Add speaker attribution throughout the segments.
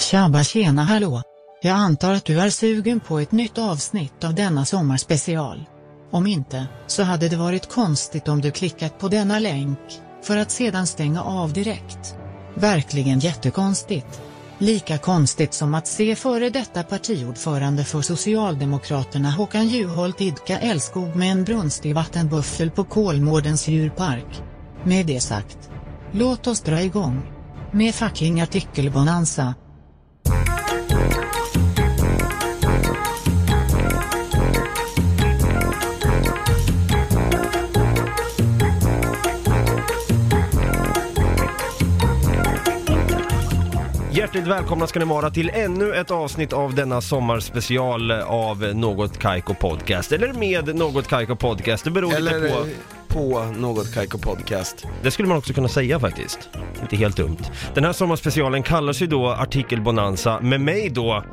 Speaker 1: Tjabba tjena hallå! Jag antar att du är sugen på ett nytt avsnitt av denna sommarspecial. Om inte, så hade det varit konstigt om du klickat på denna länk, för att sedan stänga av direkt. Verkligen jättekonstigt. Lika konstigt som att se före detta partiordförande för Socialdemokraterna Håkan Juholt idka älskog med en brunstig vattenbuffel på Kolmårdens djurpark. Med det sagt, låt oss dra igång. Med fucking artikelbonanza.
Speaker 2: Hjärtligt välkomna ska ni vara till ännu ett avsnitt av denna sommarspecial av Något Kaiko Podcast. Eller med Något Kaiko Podcast, det beror
Speaker 3: Eller
Speaker 2: lite på.
Speaker 3: på, på något Kaiko Podcast.
Speaker 2: Det skulle man också kunna säga faktiskt. Inte helt dumt. Den här sommarspecialen kallar sig då Artikel Bonanza med mig då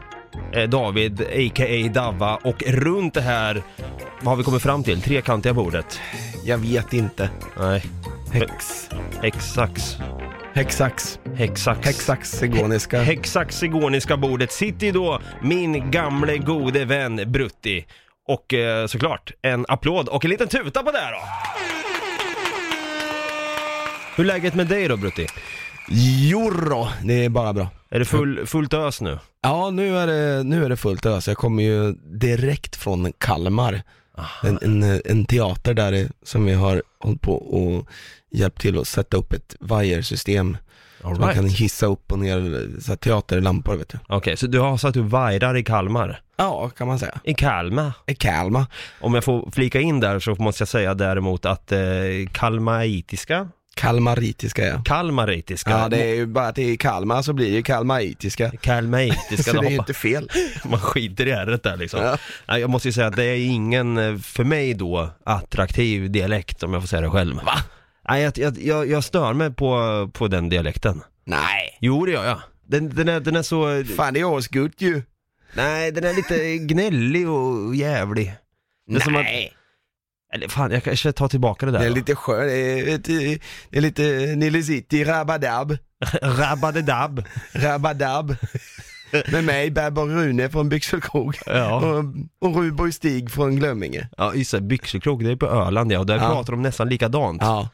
Speaker 2: eh, David, a.k.a. Davva och runt det här, vad har vi kommit fram till? Trekantiga bordet?
Speaker 3: Jag vet inte.
Speaker 2: Nej,
Speaker 3: Hex.
Speaker 2: exax,
Speaker 3: Hexax.
Speaker 2: hexax.
Speaker 3: Hexaxigoniska.
Speaker 2: hexaxigoniska bordet sitter ju då min gamle gode vän Brutti. Och eh, såklart, en applåd och en liten tuta på det här då! Hur är läget med dig då Brutti?
Speaker 3: Jorå, det är bara bra.
Speaker 2: Är det full, fullt ös nu?
Speaker 3: Ja, nu är det, nu är det fullt ös. Jag kommer ju direkt från Kalmar. En, en, en teater där det- som vi har hållit på och hjälpt till att sätta upp ett vajersystem.
Speaker 2: All
Speaker 3: Så man kan
Speaker 2: Okej,
Speaker 3: hissa upp och ner så här, teaterlampor vet du.
Speaker 2: så du har satt upp vajrar i Kalmar?
Speaker 3: Ja, kan man säga.
Speaker 2: I Kalmar?
Speaker 3: I Kalmar.
Speaker 2: Om jag får flika in där så måste jag säga däremot att eh, kalmaritiska,
Speaker 3: Kalmaritiska ja.
Speaker 2: kalmaritiska,
Speaker 3: Ja, det är ju bara att det är i Kalmar så blir det ju kalmaritiska.
Speaker 2: kalmaritiska,
Speaker 3: Så
Speaker 2: då
Speaker 3: det är ju
Speaker 2: hoppas-
Speaker 3: inte fel.
Speaker 2: Man skiter i ärret där liksom.
Speaker 3: Ja.
Speaker 2: Nej, Jag måste ju säga att det är ingen, eh, för mig då, attraktiv dialekt om jag får säga det själv. Va? Nej, jag, jag, jag, jag stör mig på, på den dialekten.
Speaker 3: Nej.
Speaker 2: Jo, det gör jag. Den, den, är, den är så,
Speaker 3: Fan det är asgott ju.
Speaker 2: nej den är lite gnällig och jävlig. Det är som att- Eller fan, jag kanske tar tillbaka det där.
Speaker 3: Det är
Speaker 2: då.
Speaker 3: lite skönt, det är, ett- det är lite Nile City, Rabadab,
Speaker 2: Rabadedab.
Speaker 3: Rabadab. Med mig Berber Rune från Byxelkrog
Speaker 2: Ja.
Speaker 3: och, och Ruborg Stig från Glömminge.
Speaker 2: ja, just det, Byxelkrok, det är på Öland ja, och där
Speaker 3: Ja.
Speaker 2: pratar de nästan likadant.
Speaker 3: Ja,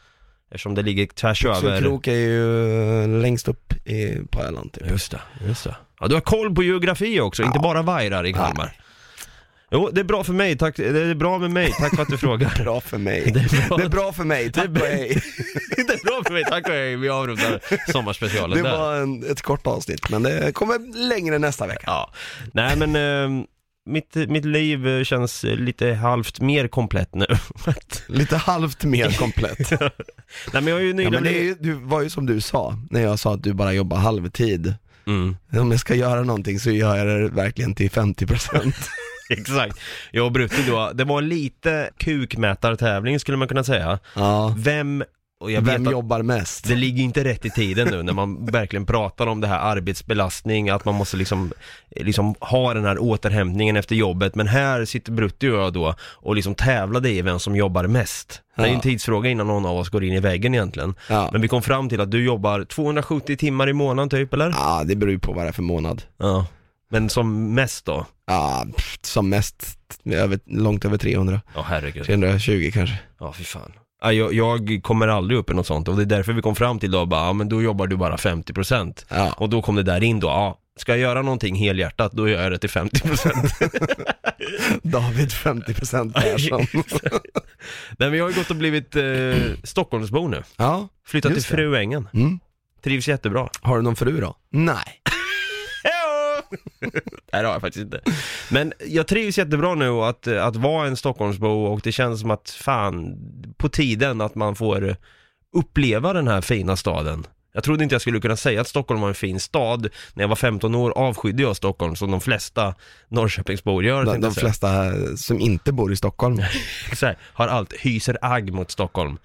Speaker 2: Eftersom det ligger tvärs över.
Speaker 3: Byxelkrog är ju eh, längst upp i, på Öland typ.
Speaker 2: Just det, just det. Ja, du har koll på geografi också, inte bara vajrar i Kalmar. Jo, det är bra för mig, tack. Det är bra med mig, tack för att du frågar.
Speaker 3: Bra för mig. Det
Speaker 2: är
Speaker 3: är
Speaker 2: bra.
Speaker 3: bra, för mig, tack och hej.
Speaker 2: det är bra för mig, tack och hej. Vi avrundar sommarspecialen
Speaker 3: Det
Speaker 2: där.
Speaker 3: var en, ett kort avsnitt men det kommer längre nästa vecka.
Speaker 2: Ja. Nej men, eh, mitt, mitt liv eh, känns eh, lite halvt mer komplett nu.
Speaker 3: Lite halvt mer komplett.
Speaker 2: Nej men jag har ju
Speaker 3: Ja,
Speaker 2: nyligen...
Speaker 3: men det är ju, du var ju som du sa, när jag sa att du bara jobbar halvtid.
Speaker 2: mm.
Speaker 3: Om jag ska göra någonting så gör jag det verkligen till 50%.
Speaker 2: Exakt. Jag och Brutti då, det var lite kukmätartävling skulle man kunna säga.
Speaker 3: ja.
Speaker 2: Vem, och jag vet
Speaker 3: Vem
Speaker 2: att
Speaker 3: jobbar mest?
Speaker 2: Det ligger inte rätt i tiden nu när man verkligen pratar om det här arbetsbelastning, att man måste liksom, liksom ha den här återhämtningen efter jobbet. Men här sitter Brutti och jag då och liksom tävlade i vem som jobbar mest. Det är ju en
Speaker 3: Ja.
Speaker 2: tidsfråga innan någon av oss går in i väggen egentligen.
Speaker 3: Ja.
Speaker 2: Men vi kom fram till att du jobbar 270 timmar i månaden typ, eller?
Speaker 3: ja, det beror ju på vad det är för månad.
Speaker 2: Ja. Men som mest då?
Speaker 3: Ja, pff, som mest över, långt över 300.
Speaker 2: Ja herregud.
Speaker 3: 320 kanske.
Speaker 2: Ja fy fan. Ja, Jag, jag kommer aldrig upp i något sånt och det är därför vi kom fram till då bara, ja men då jobbar du bara 50 procent.
Speaker 3: Ja.
Speaker 2: Och då kom det där in då, ja, ska jag göra någonting helhjärtat, då gör jag det till 50%
Speaker 3: David 50% Persson.
Speaker 2: Nej men jag har ju gått och blivit eh, Stockholmsbo nu,
Speaker 3: ja.
Speaker 2: flyttat till
Speaker 3: Just det.
Speaker 2: Fruängen,
Speaker 3: Mm.
Speaker 2: trivs jättebra
Speaker 3: Har du någon fru då? Nej.
Speaker 2: Hejo! Nej det har jag faktiskt inte Men jag trivs jättebra nu och att, att vara en Stockholmsbo och det känns som att fan, på tiden att man får uppleva den här fina staden jag trodde inte jag skulle kunna säga att Stockholm var en fin stad. När jag var 15 år avskydde jag Stockholm som de flesta Norrköpingsbor gör.
Speaker 3: De,
Speaker 2: tänkte
Speaker 3: de
Speaker 2: jag säga.
Speaker 3: flesta som inte bor i Stockholm.
Speaker 2: så här, har allt, hyser agg mot Stockholm.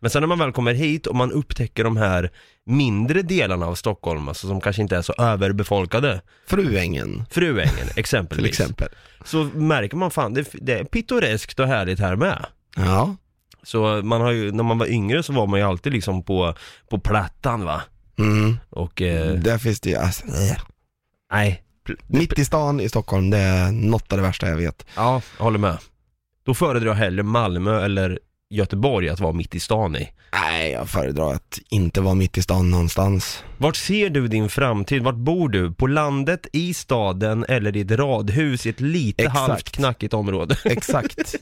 Speaker 2: Men sen när man väl kommer hit och man upptäcker de här mindre delarna av Stockholm, alltså som kanske inte är så överbefolkade,
Speaker 3: Fruängen,
Speaker 2: Fruängen exempelvis,
Speaker 3: till exempel.
Speaker 2: så märker man fan, det, det är pittoreskt och härligt här med.
Speaker 3: Ja.
Speaker 2: Så man har ju, när man var yngre så var man ju alltid liksom på, på Plattan va?
Speaker 3: Mm.
Speaker 2: Och eh,
Speaker 3: Där finns det ju, alltså, äh.
Speaker 2: Nej.
Speaker 3: Mitt i stan i Stockholm, det är något av det värsta jag vet.
Speaker 2: Ja, jag håller med. Då föredrar jag hellre Malmö eller Göteborg att vara mitt i stan i.
Speaker 3: Nej, jag föredrar att inte vara mitt i stan någonstans.
Speaker 2: Vart ser du din framtid? Vart bor du? På landet, i staden eller i ett radhus i ett lite
Speaker 3: Exakt.
Speaker 2: halvt knackigt område?
Speaker 3: Exakt.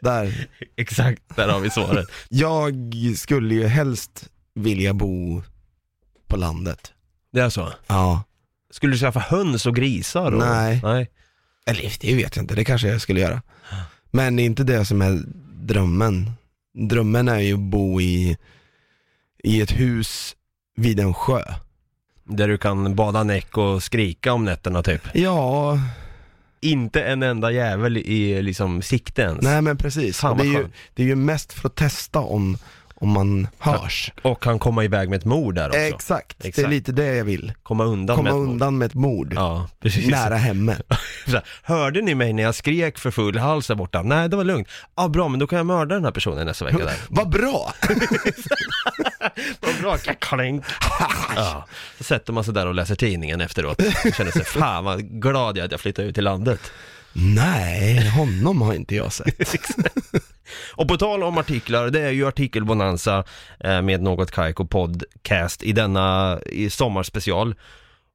Speaker 3: Där.
Speaker 2: Exakt, där har vi svaret.
Speaker 3: Jag skulle ju helst vilja bo på landet.
Speaker 2: Det är så?
Speaker 3: Ja.
Speaker 2: Skulle du skaffa höns och grisar? Och...
Speaker 3: Nej.
Speaker 2: Nej.
Speaker 3: Eller det vet jag inte, det kanske jag skulle göra. Men det är inte det som är drömmen. Drömmen är ju att bo i, i ett hus vid en sjö.
Speaker 2: Där du kan bada näck och skrika om nätterna typ.
Speaker 3: Ja,
Speaker 2: Inte en enda jävel i liksom sikte ens.
Speaker 3: nej men precis.
Speaker 2: Fan, vad
Speaker 3: det, är ju,
Speaker 2: skönt.
Speaker 3: det är ju mest för att testa om, om man hörs.
Speaker 2: Och kan komma iväg med ett mord där också.
Speaker 3: Exakt. det är
Speaker 2: Alltså. Exakt.
Speaker 3: lite det jag vill.
Speaker 2: komma undan
Speaker 3: Komma
Speaker 2: med ett mord.
Speaker 3: undan med ett mord.
Speaker 2: Ja, precis.
Speaker 3: Nära hemmet.
Speaker 2: Så här, Hörde ni mig när jag skrek för full hals där borta? Nej, det var lugnt. Ja, bra, men då kan jag mörda den här personen nästa vecka där.
Speaker 3: Vad bra!
Speaker 2: Vad bra, kakalink. Ja, så sätter man sig där och läser tidningen efteråt. Och känner sig, fan vad glad jag är att jag flyttade ut till landet.
Speaker 3: Nej, honom har inte jag sett.
Speaker 2: Och på tal om artiklar, det är ju artikelbonanza eh, med Något Kaiko Podcast i denna i sommarspecial.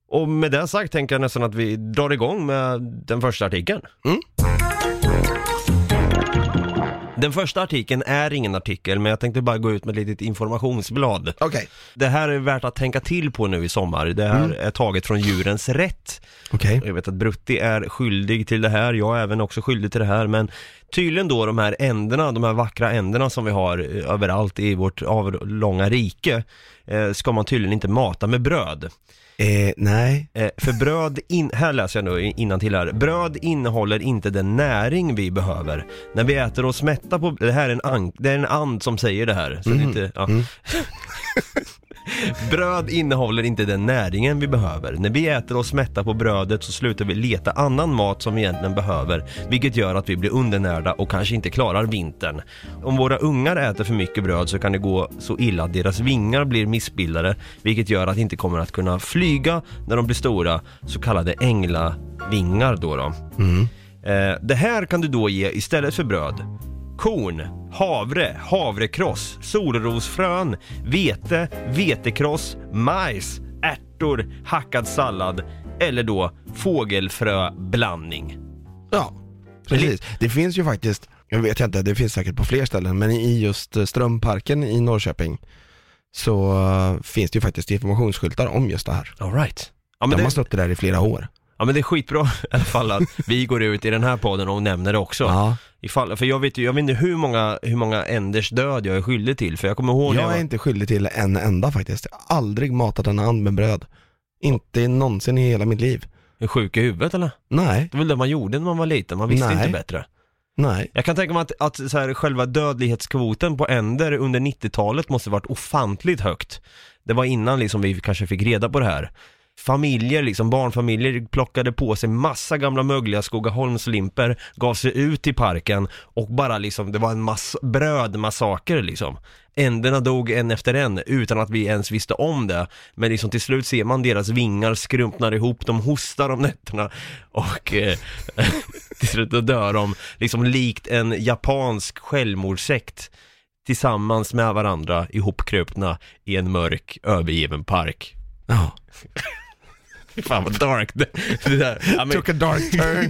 Speaker 2: Och med det sagt tänker jag nästan att vi drar igång med den första artikeln.
Speaker 3: Mm.
Speaker 2: Den första artikeln är ingen artikel, men jag tänkte bara gå ut med ett litet informationsblad.
Speaker 3: Okej.
Speaker 2: Det här är värt att tänka till på nu i sommar. Det här är taget från Djurens Rätt.
Speaker 3: Okej.
Speaker 2: Jag vet att Brutti är skyldig till det här, jag är även också skyldig till det här, men tydligen då de här änderna, de här vackra änderna som vi har eh, överallt i vårt avlånga rike, eh, ska man tydligen inte mata med bröd.
Speaker 3: Eh, nej.
Speaker 2: Eh, för bröd, in, här läser jag nu innan till här. Bröd innehåller inte den näring vi behöver. När vi äter oss mätta på, det här är en, ank, det är en and som säger det här. Så det är inte, ja. bröd innehåller inte den näringen vi behöver. När vi äter oss mätta på brödet så slutar vi leta annan mat som vi egentligen behöver, vilket gör att vi blir undernärda och kanske inte klarar vintern. Om våra ungar äter för mycket bröd så kan det gå så illa att deras vingar blir missbildade, vilket gör att de inte kommer att kunna flyga när de blir stora, så kallade änglavingar då. då. Eh, det här kan du då ge istället för bröd. Korn, havre, havrekross, solrosfrön, vete, vetekross, majs, ärtor, hackad sallad eller då fågelfröblandning.
Speaker 3: Ja, precis. Det finns ju faktiskt, jag vet inte, det finns säkert på fler ställen, men i just eh, Strömparken i Norrköping så eh, finns det ju faktiskt informationsskyltar om just det här.
Speaker 2: All right. Ja men,
Speaker 3: De
Speaker 2: det,
Speaker 3: har stått där i flera år.
Speaker 2: ja men det är skitbra i alla fall att vi går ut i den här podden och nämner det också.
Speaker 3: Ja.
Speaker 2: Ifall, för jag vet ju, jag vet inte hur många, hur många änders död jag är skyldig till, för jag kommer ihåg när jag
Speaker 3: Jag
Speaker 2: var-
Speaker 3: är inte skyldig till en enda faktiskt. Jag har aldrig matat en and med bröd. Inte någonsin i hela mitt liv.
Speaker 2: är sjuk i huvudet eller?
Speaker 3: Nej,
Speaker 2: Det var väl det man gjorde när man var liten, man visste
Speaker 3: Nej.
Speaker 2: inte bättre.
Speaker 3: nej.
Speaker 2: Jag kan tänka mig att, att så här, själva dödlighetskvoten på änder under 90-talet måste varit ofantligt högt. Det var innan liksom vi kanske fick reda på det här. Familjer, liksom barnfamiljer plockade på sig massa gamla mögliga Skogaholmslimper, gav sig ut i parken och bara liksom, det var en mass- brödmassaker liksom. Änderna dog en efter en utan att vi ens visste om det. Men liksom till slut ser man deras vingar skrumpnar ihop, de hostar om nätterna och eh, till slut då dör de liksom likt en japansk självmordssekt tillsammans med varandra ihopkrupna i en mörk övergiven park.
Speaker 3: Ja.
Speaker 2: Fan vad dark det, det där. Ja, men,
Speaker 3: Took a dark turn.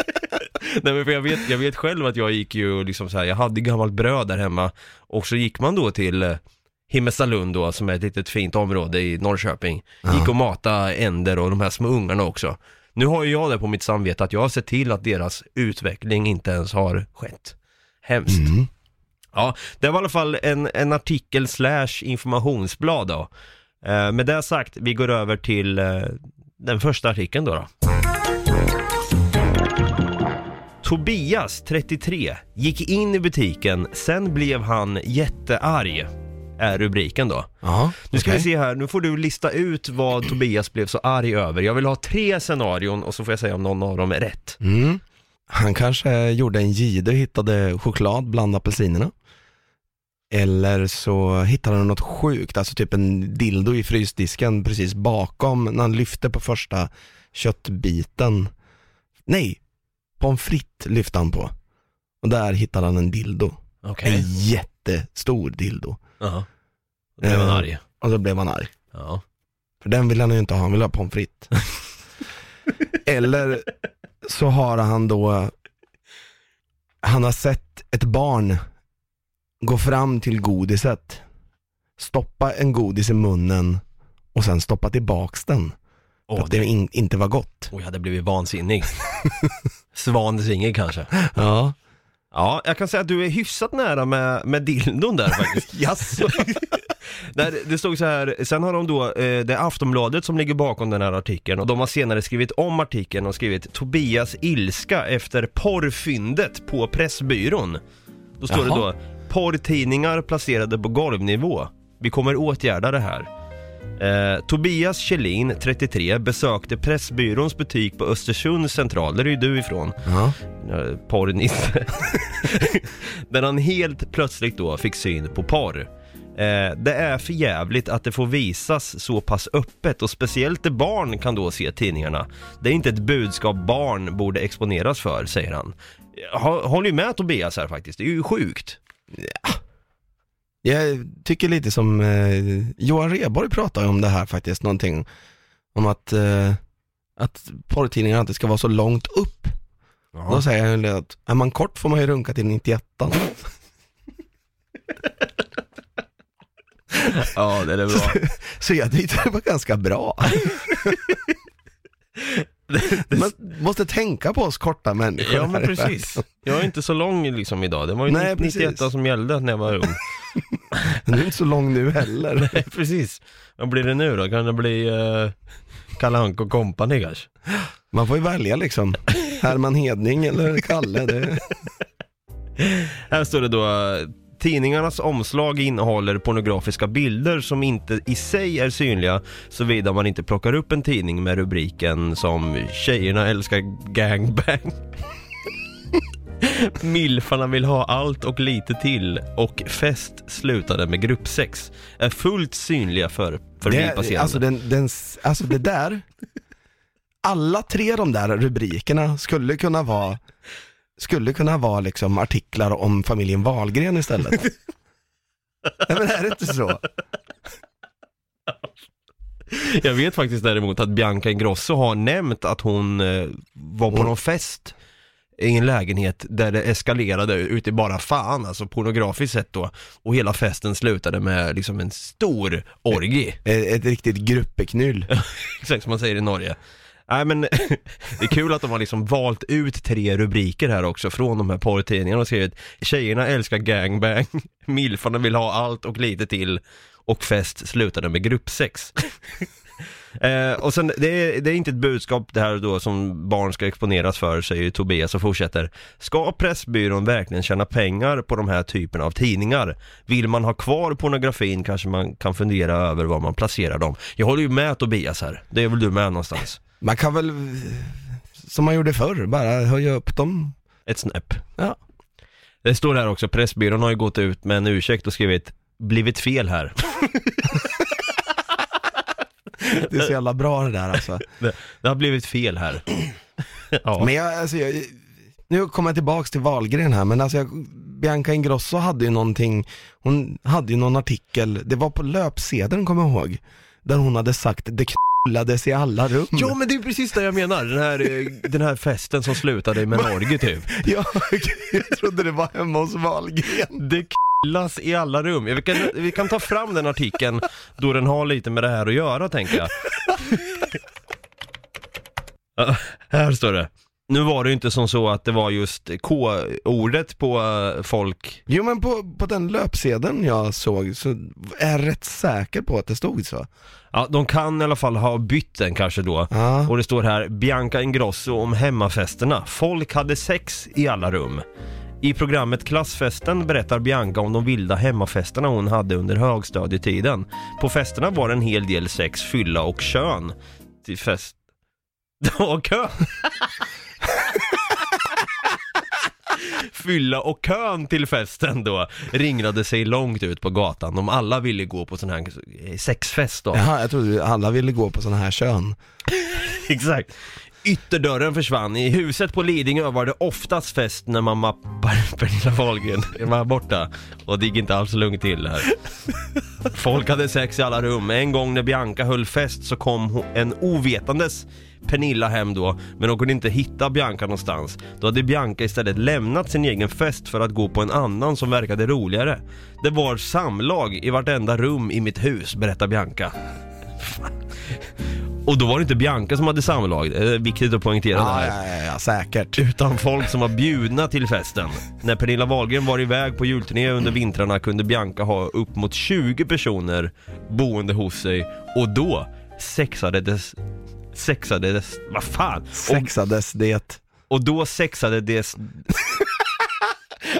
Speaker 2: nej, men för jag, vet, jag vet själv att jag gick ju liksom så här, jag hade gammalt bröd där hemma och så gick man då till eh, Himmelstalund då, som är ett litet fint område i Norrköping. Gick och matade änder och de här små ungarna också. Nu har ju jag det på mitt samvete att jag har sett till att deras utveckling inte ens har skett. Hemskt.
Speaker 3: Mm.
Speaker 2: Ja, det var i alla fall en, en artikel slash informationsblad då. Eh, med det sagt, vi går över till eh, den första artikeln då, då. Tobias, 33, gick in i butiken, sen blev han jättearg, är rubriken då.
Speaker 3: Ja,
Speaker 2: Nu ska
Speaker 3: okej.
Speaker 2: vi se här, nu får du lista ut vad Tobias blev så arg över. Jag vill ha tre scenarion och så får jag säga om någon av dem är rätt.
Speaker 3: Mm. Han kanske gjorde en gide och hittade choklad bland apelsinerna. Eller så hittade han något sjukt, alltså typ en dildo i frysdisken precis bakom när han lyfte på första köttbiten. Nej, pommes frites lyfte han på. Och där hittade han en dildo.
Speaker 2: Okej.
Speaker 3: En jättestor dildo.
Speaker 2: Jaha. Då blev man
Speaker 3: Eh,
Speaker 2: arg.
Speaker 3: Och då blev han arg.
Speaker 2: Ja.
Speaker 3: För den vill han ju inte ha, han vill ha pommes frites. Eller så har han då, han har sett ett barn gå fram till godiset, stoppa en godis i munnen och sen stoppa tillbaks den. för
Speaker 2: Åh,
Speaker 3: att det in, inte var gott.
Speaker 2: oh, jag hade blivit vansinnig. Svansingig kanske.
Speaker 3: Ja.
Speaker 2: Ja, jag kan säga att du är hyfsat nära med, med dildon där faktiskt. Jaså? Där, det stod så här, sen har de då, eh, det är Aftonbladet som ligger bakom den här artikeln och de har senare skrivit om artikeln och skrivit Tobias ilska efter porrfyndet på Pressbyrån. Då står
Speaker 3: Jaha.
Speaker 2: det då, porrtidningar placerade på golvnivå. Vi kommer åtgärda det här. Eh, Tobias Kjellin, 33, besökte Pressbyråns butik på Östersund central, där är ju du ifrån
Speaker 3: ja.
Speaker 2: eh, porrnisse. Där han helt plötsligt då fick syn på porr. Eh, det är för jävligt att det får visas så pass öppet och speciellt där barn kan då se tidningarna. Det är inte ett budskap barn borde exponeras för, säger han. Jag hå- håller ju med Tobias här faktiskt, det är ju sjukt.
Speaker 3: Jag tycker lite som eh, Johan Rheborg pratar ju om det här faktiskt, någonting om att, eh, att porrtidningarna inte ska vara så långt upp Då säger han ju att är man kort får man ju runka till 91
Speaker 2: Ja, det är bra.
Speaker 3: Så jag tyckte det var ganska bra. Man måste tänka på oss korta människor.
Speaker 2: Ja men
Speaker 3: här i
Speaker 2: precis. Jag är inte så lång liksom idag, det var ju
Speaker 3: Nej,
Speaker 2: 91
Speaker 3: precis.
Speaker 2: som gällde när jag var ung.
Speaker 3: världen. Du är inte så lång nu heller.
Speaker 2: Nej, precis. Vad blir det nu då? Kan det bli uh, Kalle Anka och Company kanske?
Speaker 3: Man får ju välja liksom. Herman Hedning eller Kalle. Det...
Speaker 2: Här står det då eh, Tidningarnas omslag innehåller pornografiska bilder som inte i sig är synliga såvida man inte plockar upp en tidning med rubriken som “Tjejerna älskar gangbang” “Milfarna vill ha allt och lite till” och “Fest slutade med gruppsex” är fullt synliga för, för
Speaker 3: Det,
Speaker 2: bipasserande.
Speaker 3: alltså, den, den, alltså det där, alla tre de där rubrikerna skulle kunna vara skulle kunna vara liksom artiklar om familjen Wahlgren istället. Nej men är det inte så?
Speaker 2: Jag vet faktiskt däremot att Bianca Ingrosso har nämnt att hon eh, var på
Speaker 3: Hon-
Speaker 2: någon fest i en lägenhet där det eskalerade ut i bara fan, alltså pornografiskt sett då. Och hela festen slutade med liksom en stor orgie,
Speaker 3: Ett, ett riktigt gruppeknull.
Speaker 2: exakt som man säger i Norge. Nej men, det är kul att de har liksom valt ut tre rubriker här också från de här porrtidningarna och skrivit Tjejerna älskar gangbang, milfarna vill ha allt och lite till och fest slutade med gruppsex. Eh, och sen, det är, det är inte ett budskap det här då som barn ska exponeras för, säger ju Tobias och fortsätter. Ska Pressbyrån verkligen tjäna pengar på de här typerna av tidningar? Vill man ha kvar pornografin kanske man kan fundera över var man placerar dem. Jag håller ju med Tobias här, det är väl du med någonstans?
Speaker 3: Man kan väl, som man gjorde förr, bara höja upp dem.
Speaker 2: Ett snäpp.
Speaker 3: Ja.
Speaker 2: Det står här också, Pressbyrån har ju gått ut med en ursäkt och skrivit Blivit fel här.
Speaker 3: Det är så jävla bra det där alltså.
Speaker 2: Det, det har blivit fel här. Ja.
Speaker 3: Men jag, alltså jag, nu kommer jag tillbaks till Wahlgren här, men alltså jag, Bianca Ingrosso hade ju någonting, hon hade ju någon artikel, det var på löpsedeln kommer jag ihåg, där hon hade sagt det knullades i alla rum.
Speaker 2: Ja men det är precis det jag menar, den här, eh, den här festen som slutade med Norge typ.
Speaker 3: jag, jag trodde det var hemma hos Wahlgren.
Speaker 2: Det killas i alla rum. Ja, Vi kan, vi kan ta fram den artikeln då den har lite med det här att göra tänker jag. Ja, här står det. Nu var det ju inte som så att det var just K-ordet på eh, folk.
Speaker 3: Jo men på, på den löpsedeln jag såg så är jag rätt säker på att det stod så.
Speaker 2: Ja, de kan i alla fall ha bytt den kanske då.
Speaker 3: Ja.
Speaker 2: Och det står här Bianca Ingrosso om hemmafesterna. Folk hade sex i alla rum. I programmet Klassfesten berättar Bianca om de vilda hemmafesterna hon hade under högstadietiden. På festerna var det en hel del sex, fylla och kön. Till fest... Ja, kön! fylla och kön till festen då ringrade sig långt ut på gatan. De alla ville gå på sån här sexfest då.
Speaker 3: Jaha, jag trodde alla ville gå på sådana här kön.
Speaker 2: Exakt. Ytterdörren försvann. I huset på Lidingö var det oftast fest när mamma Per- Pernilla Wahlgren var borta. Och det gick inte alls lugnt till här. Folk hade sex i alla rum. En gång när Bianca höll fest så kom ho- en ovetandes Pernilla hem då, men hon kunde inte hitta Bianca någonstans. Då hade Bianca istället lämnat sin egen fest för att gå på en annan som verkade roligare. Det var samlag i vartenda rum i mitt hus, berättar Bianca. Och då var det inte Bianca som hade samlag, det är viktigt att poängtera det här.
Speaker 3: Ah, ja, ja, säkert.
Speaker 2: Utan folk som var bjudna till festen. När Pernilla Wahlgren var iväg på julturné under vintrarna kunde Bianca ha upp mot 20 personer boende hos sig och då sexades sexades, vad fan? Och,
Speaker 3: Sexades det.
Speaker 2: och då sexades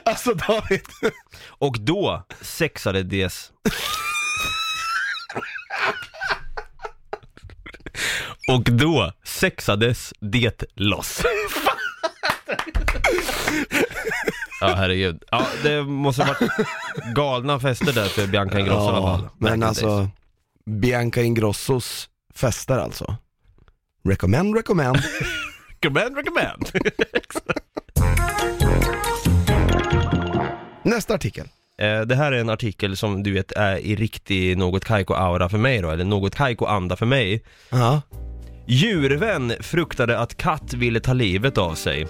Speaker 3: Alltså David.
Speaker 2: och då sexades Och då sexades det loss. Ja herregud. Ja, det måste ha varit galna fester där för Bianca Ingrosso i alla fall.
Speaker 3: men
Speaker 2: Back in days.
Speaker 3: alltså, Bianca Ingrossos fester alltså. Recommend, recommend.
Speaker 2: Recommend, recommend.
Speaker 3: Nästa artikel.
Speaker 2: Eh, Det här är en artikel som du vet är i riktig något Kaiko-aura för mig då, eller något Kaiko-anda för mig.
Speaker 3: Ja.
Speaker 2: Djurvän fruktade att katt ville ta livet av sig.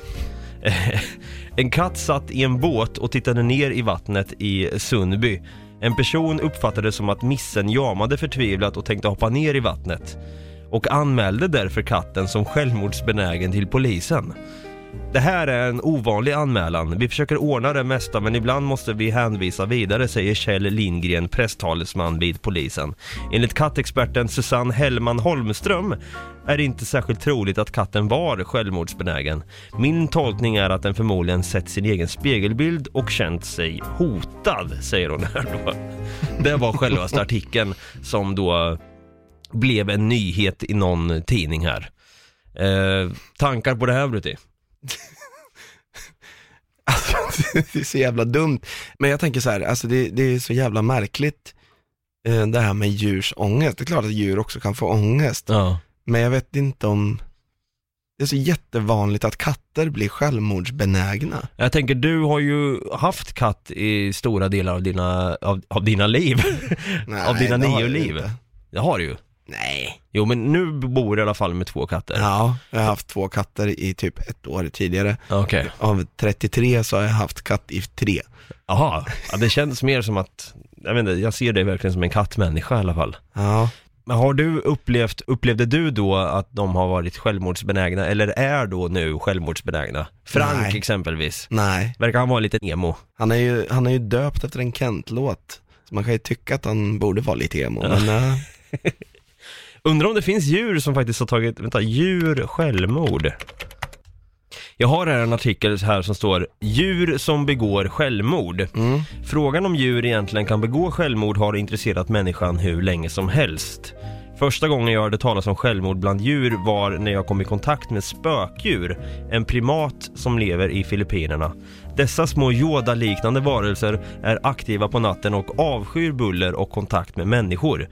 Speaker 2: en katt satt i en båt och tittade ner i vattnet i Sundby. En person uppfattade det som att missen jamade förtvivlat och tänkte hoppa ner i vattnet och anmälde därför katten som självmordsbenägen till polisen. Det här är en ovanlig anmälan. Vi försöker ordna det mesta men ibland måste vi hänvisa vidare, säger Kjell Lindgren, presstalesman vid polisen. Enligt kattexperten Susanne Hellman Holmström är det inte särskilt troligt att katten var självmordsbenägen. Min tolkning är att den förmodligen sett sin egen spegelbild och känt sig hotad, säger hon här då. Det var självaste artikeln som då blev en nyhet i någon tidning här. Eh, tankar på det här Brutti?
Speaker 3: Alltså, det är så jävla dumt. Men jag tänker så här, alltså det, det är så jävla märkligt eh, det här med djurs ångest. Det är klart att djur också kan få ångest,
Speaker 2: Ja.
Speaker 3: men jag vet inte om det är så jättevanligt att katter blir självmordsbenägna.
Speaker 2: Jag tänker, du har ju haft katt i stora delar av dina, av, av dina liv.
Speaker 3: Nej,
Speaker 2: av dina
Speaker 3: det har
Speaker 2: nio
Speaker 3: jag
Speaker 2: liv.
Speaker 3: inte.
Speaker 2: Det har du ju.
Speaker 3: Nej.
Speaker 2: Jo men nu bor du i alla fall med två katter.
Speaker 3: Ja, jag har haft två katter i typ ett år tidigare.
Speaker 2: Okej.
Speaker 3: Av 33 så har jag haft katt i tre.
Speaker 2: Jaha, ja, det känns mer som att, jag vet inte, jag ser dig verkligen som en kattmänniska i alla fall.
Speaker 3: Ja.
Speaker 2: Men har du upplevt, upplevde du då att de har varit självmordsbenägna eller är då nu självmordsbenägna? Frank
Speaker 3: Nej.
Speaker 2: exempelvis,
Speaker 3: Nej,
Speaker 2: verkar han vara lite emo.
Speaker 3: han är ju, han är ju döpt efter en Kent-låt. Så man kan ju tycka att han borde vara lite emo, men eh,
Speaker 2: Undrar om det finns djur som faktiskt har tagit, vänta, djur självmord. Jag har här en artikel här som står Djur som begår självmord. Frågan om djur egentligen kan begå självmord har intresserat människan hur länge som helst. Första gången jag hörde talas om självmord bland djur var när jag kom i kontakt med spökdjur, en primat som lever i Filippinerna. Dessa små Yoda-liknande varelser är aktiva på natten och avskyr buller och kontakt med människor.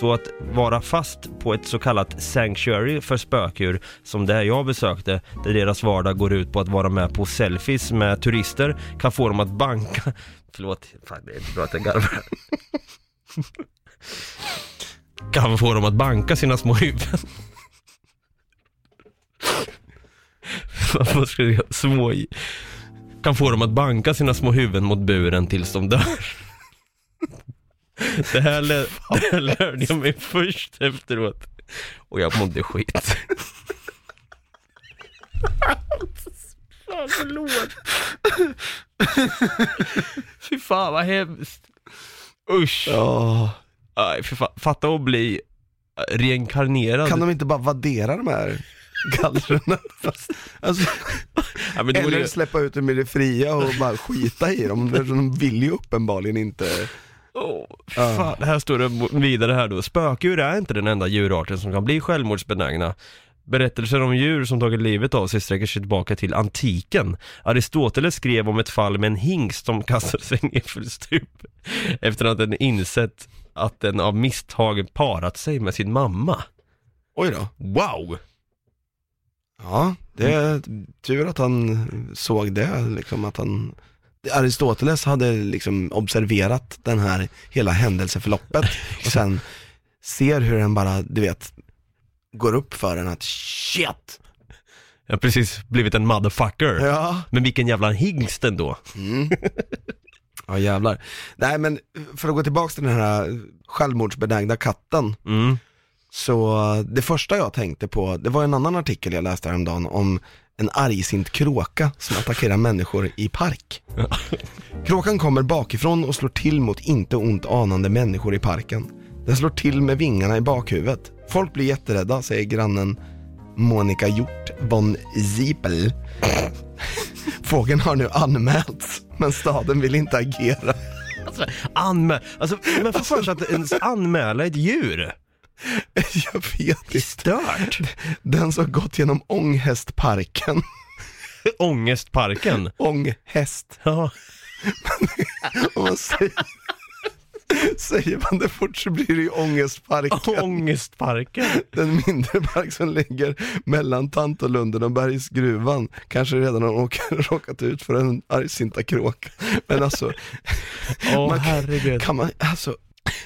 Speaker 2: Så att vara fast på ett så kallat sanctuary för spökdjur, som det jag besökte, där deras vardag går ut på att vara med på selfies med turister, kan få dem att banka... Förlåt, fan det är inte bra att jag garvar. kan få dem att banka sina små huvuden. Vad ska jag säga? Små... i- Kan få dem att banka sina små huvuden mot buren tills de dör. Det här, lä- det här lärde jag mig först efteråt. Och jag mådde skit. fan, förlåt. Fy fan vad hemskt. Usch.
Speaker 3: ja.
Speaker 2: Aj, för fa- fatta att bli eh, reinkarnerad.
Speaker 3: Kan de inte bara vaddera de här gallren? Fast- alltså,
Speaker 2: ja, men då är det
Speaker 3: eller
Speaker 2: ju-
Speaker 3: släppa ut dem i det fria och bara skita i dem, för de vill ju uppenbarligen inte.
Speaker 2: Åh,
Speaker 3: Ja.
Speaker 2: fan. Här står det vidare här då. Spökdjur är inte den enda djurarten som kan bli självmordsbenägna. Berättelser om djur som tagit livet av sig sträcker sig tillbaka till antiken. Aristoteles skrev om ett fall med en hingst som kastade sig ner för ett stup efter att den insett att den av misstag parat sig med sin mamma.
Speaker 3: Oj då.
Speaker 2: Wow!
Speaker 3: Ja, det är tur att han såg det, liksom att han Aristoteles hade liksom observerat den här hela händelseförloppet och sen ser hur den bara, du vet, går upp för den att shit!
Speaker 2: Jag har precis blivit en motherfucker.
Speaker 3: Ja.
Speaker 2: Men vilken jävla hingst ändå.
Speaker 3: Ja jävlar. Nej men för att gå tillbaka till den här självmordsbenägna katten.
Speaker 2: Mm.
Speaker 3: Så det första jag tänkte på, det var en annan artikel jag läste häromdagen om en argsint kråka som attackerar människor i park. Kråkan kommer bakifrån och slår till mot inte ont anande människor i parken. Den slår till med vingarna i bakhuvudet. Folk blir jätterädda, säger grannen Monica Hjort von Ziepel. Fågeln har nu anmälts, men staden vill inte agera.
Speaker 2: Anmäl... Alltså, men får för sig att ens anmäla ett djur.
Speaker 3: Jag vet
Speaker 2: Det är
Speaker 3: inte.
Speaker 2: stört.
Speaker 3: Den som gått genom Ånghästparken,
Speaker 2: Ångestparken.
Speaker 3: Ånghäst,
Speaker 2: Ja.
Speaker 3: Om man säger, säger man det fort så blir det ju ångestparken.
Speaker 2: Ångestparken.
Speaker 3: Den mindre park som ligger mellan Tantolunden och Bergsgruvan. Kanske redan har åker, råkat ut för en argsinta kråka. Men alltså,
Speaker 2: Åh
Speaker 3: Man-
Speaker 2: herregud.
Speaker 3: kan man, alltså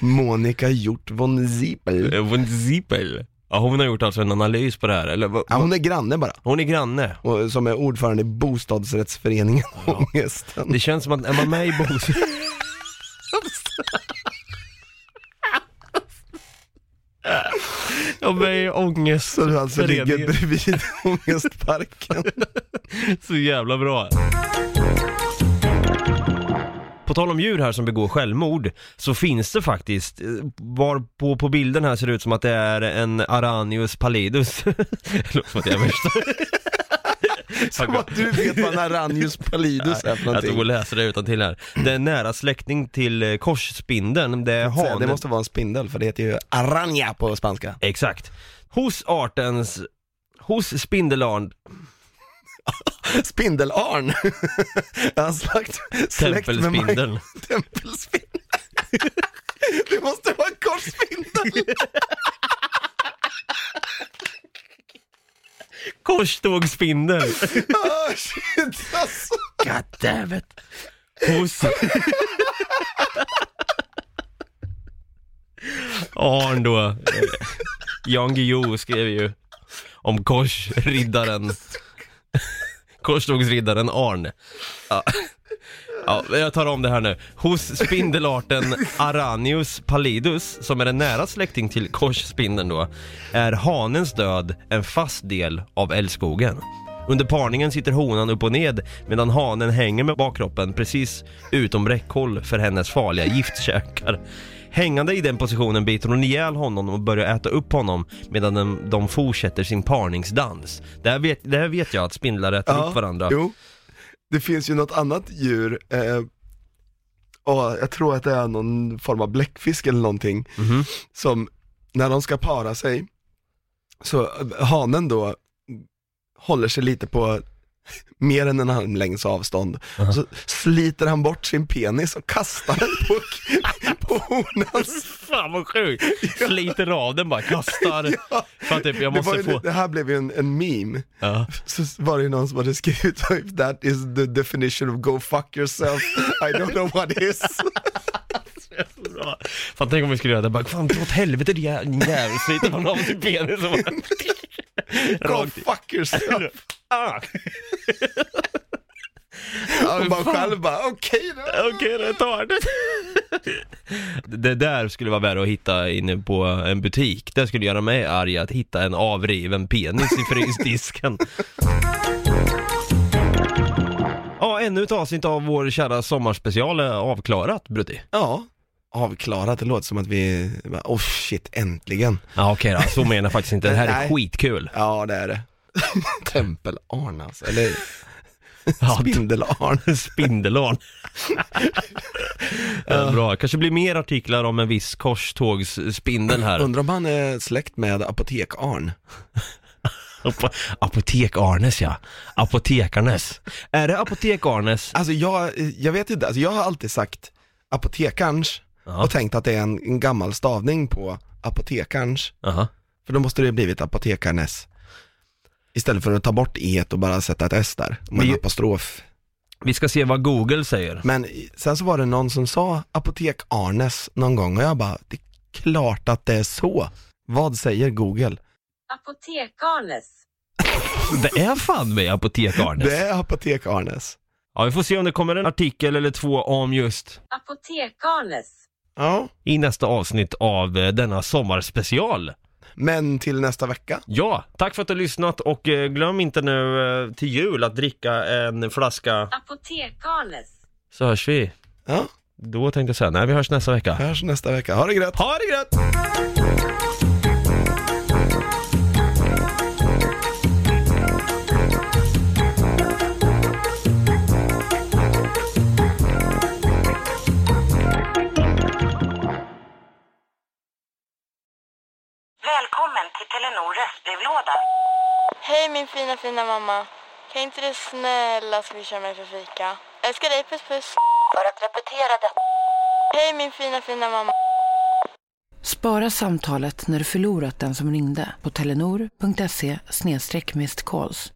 Speaker 3: Monica Hjort von Ziepel.
Speaker 2: Von Zippel. Ja, hon har gjort alltså en analys på det här, eller? vad-
Speaker 3: Ja, hon är granne bara,
Speaker 2: Hon är granne.
Speaker 3: och, som är ordförande i bostadsrättsföreningen Ångesten.
Speaker 2: Det känns som att, är man med i Bosse? Ja, med i ångest.
Speaker 3: Så du alltså ligger
Speaker 2: Föreningen.
Speaker 3: bredvid Ångestparken.
Speaker 2: Så jävla bra. På tal om djur här som begår självmord så finns det faktiskt, eh, var på, på bilden här ser det ut som att det är en Aranius pallidus. Det låter som att jag är värsta.
Speaker 3: Som att du vet vad en Aranius pallidus är för
Speaker 2: Jag tog
Speaker 3: någonting.
Speaker 2: och läser det utan till här. Det är en nära släkting till eh, korsspindeln, det är
Speaker 3: Säga,
Speaker 2: hanen.
Speaker 3: Det måste vara en spindel för det heter ju aranja på spanska.
Speaker 2: Exakt. Hos artens, hos spindelarn,
Speaker 3: Spindelarn! Jag har släkt, släkt med Mike
Speaker 2: tempelspindeln.
Speaker 3: Tempelspindeln. Det måste vara en korsspindel!
Speaker 2: Korstågsspindel.
Speaker 3: Oh, shit alltså.
Speaker 2: God damn it. Hos... Arn då. Eh, Jan Guillou skrev ju om korsriddaren. Korstågsriddaren Arn. Ja. Ja, men jag tar om det här nu. Hos spindelarten Aranius pallidus, som är en nära släkting till korsspindeln då, är hanens död en fast del av älskogen. Under parningen sitter honan upp och ned medan hanen hänger med bakkroppen precis utom räckhåll för hennes farliga giftkäkar. Hängande i den positionen biter hon ihjäl honom och börjar äta upp honom medan de, de fortsätter sin parningsdans. Det här vet, det här vet jag att spindlar äter upp varandra.
Speaker 3: Jo, det finns ju något annat djur, eh, åh, jag tror att det är någon form av bläckfisk eller någonting,
Speaker 2: Mhm.
Speaker 3: som när de ska para sig, så eh, hanen då håller sig lite på mer än en armlängds avstånd, så sliter han bort sin penis och kastar den på, på honans
Speaker 2: Fan vad sjukt! Sliter av den bara, kastar. För att typ, jag
Speaker 3: det, var
Speaker 2: måste
Speaker 3: ju,
Speaker 2: få...
Speaker 3: det här blev ju en, en meme,
Speaker 2: Ja.
Speaker 3: så var det ju någon som hade skrivit If that is the definition of go fuck yourself, I don't know what is.
Speaker 2: Bra. Fan tänk om vi skulle göra det bara, fan dra åt helvete din jä- din jävel, sliter man av sin penis och bara...
Speaker 3: go
Speaker 2: Rakt i-
Speaker 3: fuck yourself.
Speaker 2: Ah,
Speaker 3: Och man själv bara, okej då.
Speaker 2: Okej, det tar det. Det där skulle vara värre att hitta inne på en butik. Det skulle göra mig arg att hitta en avriven penis i frysdisken. Ja, ännu ett avsnitt av vår kära sommarspecial är avklarat, Brutti.
Speaker 3: Ja, avklarat, det låter som att vi, bara, oh shit, äntligen.
Speaker 2: Ja okej då, så menar jag faktiskt inte. Det här är
Speaker 3: Nej.
Speaker 2: skitkul.
Speaker 3: Ja det är det. Tempelarn alltså, eller
Speaker 2: Ja,
Speaker 3: spindelarn.
Speaker 2: Spindelarn. Eh, Bra, kanske blir mer artiklar om en viss korstågsspindel här.
Speaker 3: Undrar om han är släkt med apotekarn.
Speaker 2: Ap- Apotek Arnes ja. Apotekarnes. Är det Apotek Arnes?
Speaker 3: Alltså jag, jag vet inte, alltså jag har alltid sagt apotekarns
Speaker 2: Ja.
Speaker 3: och tänkt att det är en, en gammal stavning på apotekarns.
Speaker 2: Aha.
Speaker 3: För då måste det ju blivit apotekarnes. Istället för att ta bort e och bara sätta ett s där, med
Speaker 2: Men-
Speaker 3: en apostrof.
Speaker 2: Vi ska se vad Google säger.
Speaker 3: Men i- sen så var det någon som sa apotek Arnes någon gång och jag bara, det är klart att det är så. Vad säger Google?
Speaker 4: Apotekarnes.
Speaker 2: Det är fan med Apotek
Speaker 3: Det
Speaker 2: Arnes.
Speaker 3: är apotek Arnes.
Speaker 2: Ja, vi får se om det kommer en artikel eller två om just
Speaker 4: Apotekarnes.
Speaker 3: Ja,
Speaker 2: i nästa avsnitt av eh, denna sommarspecial.
Speaker 3: men till nästa vecka.
Speaker 2: Ja, tack för att du har lyssnat och eh, glöm inte nu eh, till jul att dricka en flaska
Speaker 4: Apotekarnes.
Speaker 2: så hörs vi.
Speaker 3: Ja,
Speaker 2: Då tänkte jag säga, nej vi hörs nästa vecka.
Speaker 3: hörs nästa vecka. Ha det grött!
Speaker 2: Ha det gött!
Speaker 5: Välkommen till Telenor röstbrevlåda.
Speaker 6: Hej min fina fina mamma. Kan inte du snälla swisha mig för fika? Älskar dig, puss puss.
Speaker 5: För att repetera detta
Speaker 6: Hej min fina fina mamma.
Speaker 7: Spara samtalet när du förlorat den som ringde på telenor.se snedstreck missed calls.